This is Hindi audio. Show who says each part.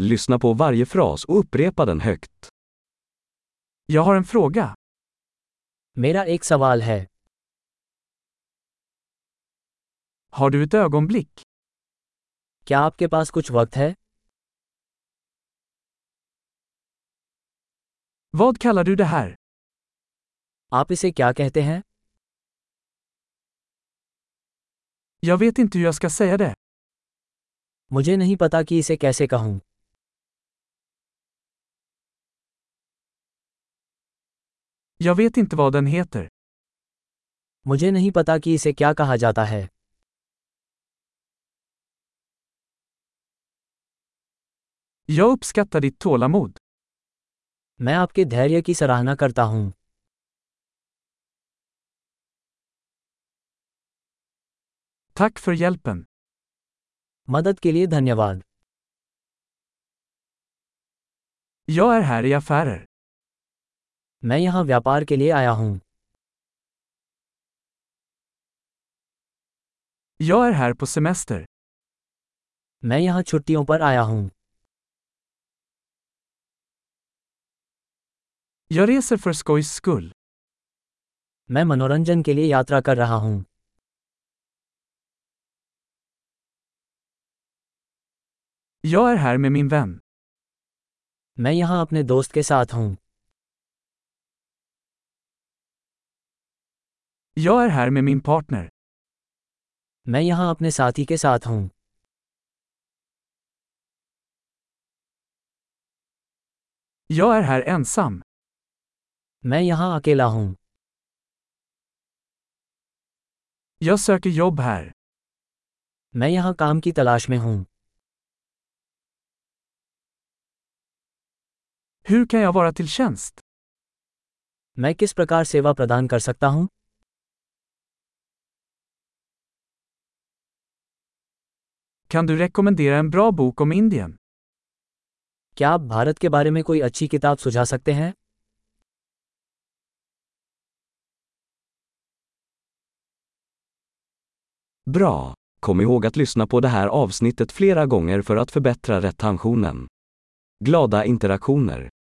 Speaker 1: Lyssna på varje fras och upprepa den högt. Jag har en fråga.
Speaker 2: मेरा एक सवाल है
Speaker 1: Har du ett ögonblick?
Speaker 2: क्या आपके पास कुछ वक्त है
Speaker 1: Vad kallar du det här?
Speaker 2: आप इसे क्या कहते हैं
Speaker 1: Jag vet inte hur jag ska säga det.
Speaker 2: मुझे नहीं पता कि इसे कैसे कहूँ
Speaker 1: Jag vet inte vad den heter.
Speaker 2: मुझे नहीं पता कि इसे क्या कहा जाता है
Speaker 1: Jag uppskattar ditt tålamod.
Speaker 2: मैं आपके धैर्य की सराहना करता हूँ
Speaker 1: Tack för hjälpen.
Speaker 2: मदद के लिए धन्यवाद
Speaker 1: Jag är här i affärer.
Speaker 2: मैं यहाँ व्यापार के लिए आया हूँ
Speaker 1: Jag är här på semester.
Speaker 2: मैं यहाँ छुट्टियों पर आया हूँ
Speaker 1: Jag reser för skojs skull.
Speaker 2: मैं मनोरंजन के लिए यात्रा कर रहा हूँ
Speaker 1: Jag är här med min vän.
Speaker 2: मैं यहाँ अपने दोस्त के साथ हूँ
Speaker 1: Jag är här med min partner.
Speaker 2: मैं यहाँ अपने साथी के साथ हूँ
Speaker 1: Jag är här ensam.
Speaker 2: मैं यहाँ अकेला हूँ
Speaker 1: Jag söker jobb här.
Speaker 2: मैं यहाँ काम की तलाश में हूँ
Speaker 1: Hur kan jag vara till tjänst?
Speaker 2: मैं किस प्रकार सेवा प्रदान कर सकता हूँ
Speaker 1: Kan du rekommendera en bra bok om Indien?
Speaker 2: क्या आप भारत के बारे में कोई अच्छी किताब सुझा सकते हैं
Speaker 3: Bra! Kom ihåg att lyssna på det här avsnittet flera gånger för att förbättra retentionen. Glada interaktioner!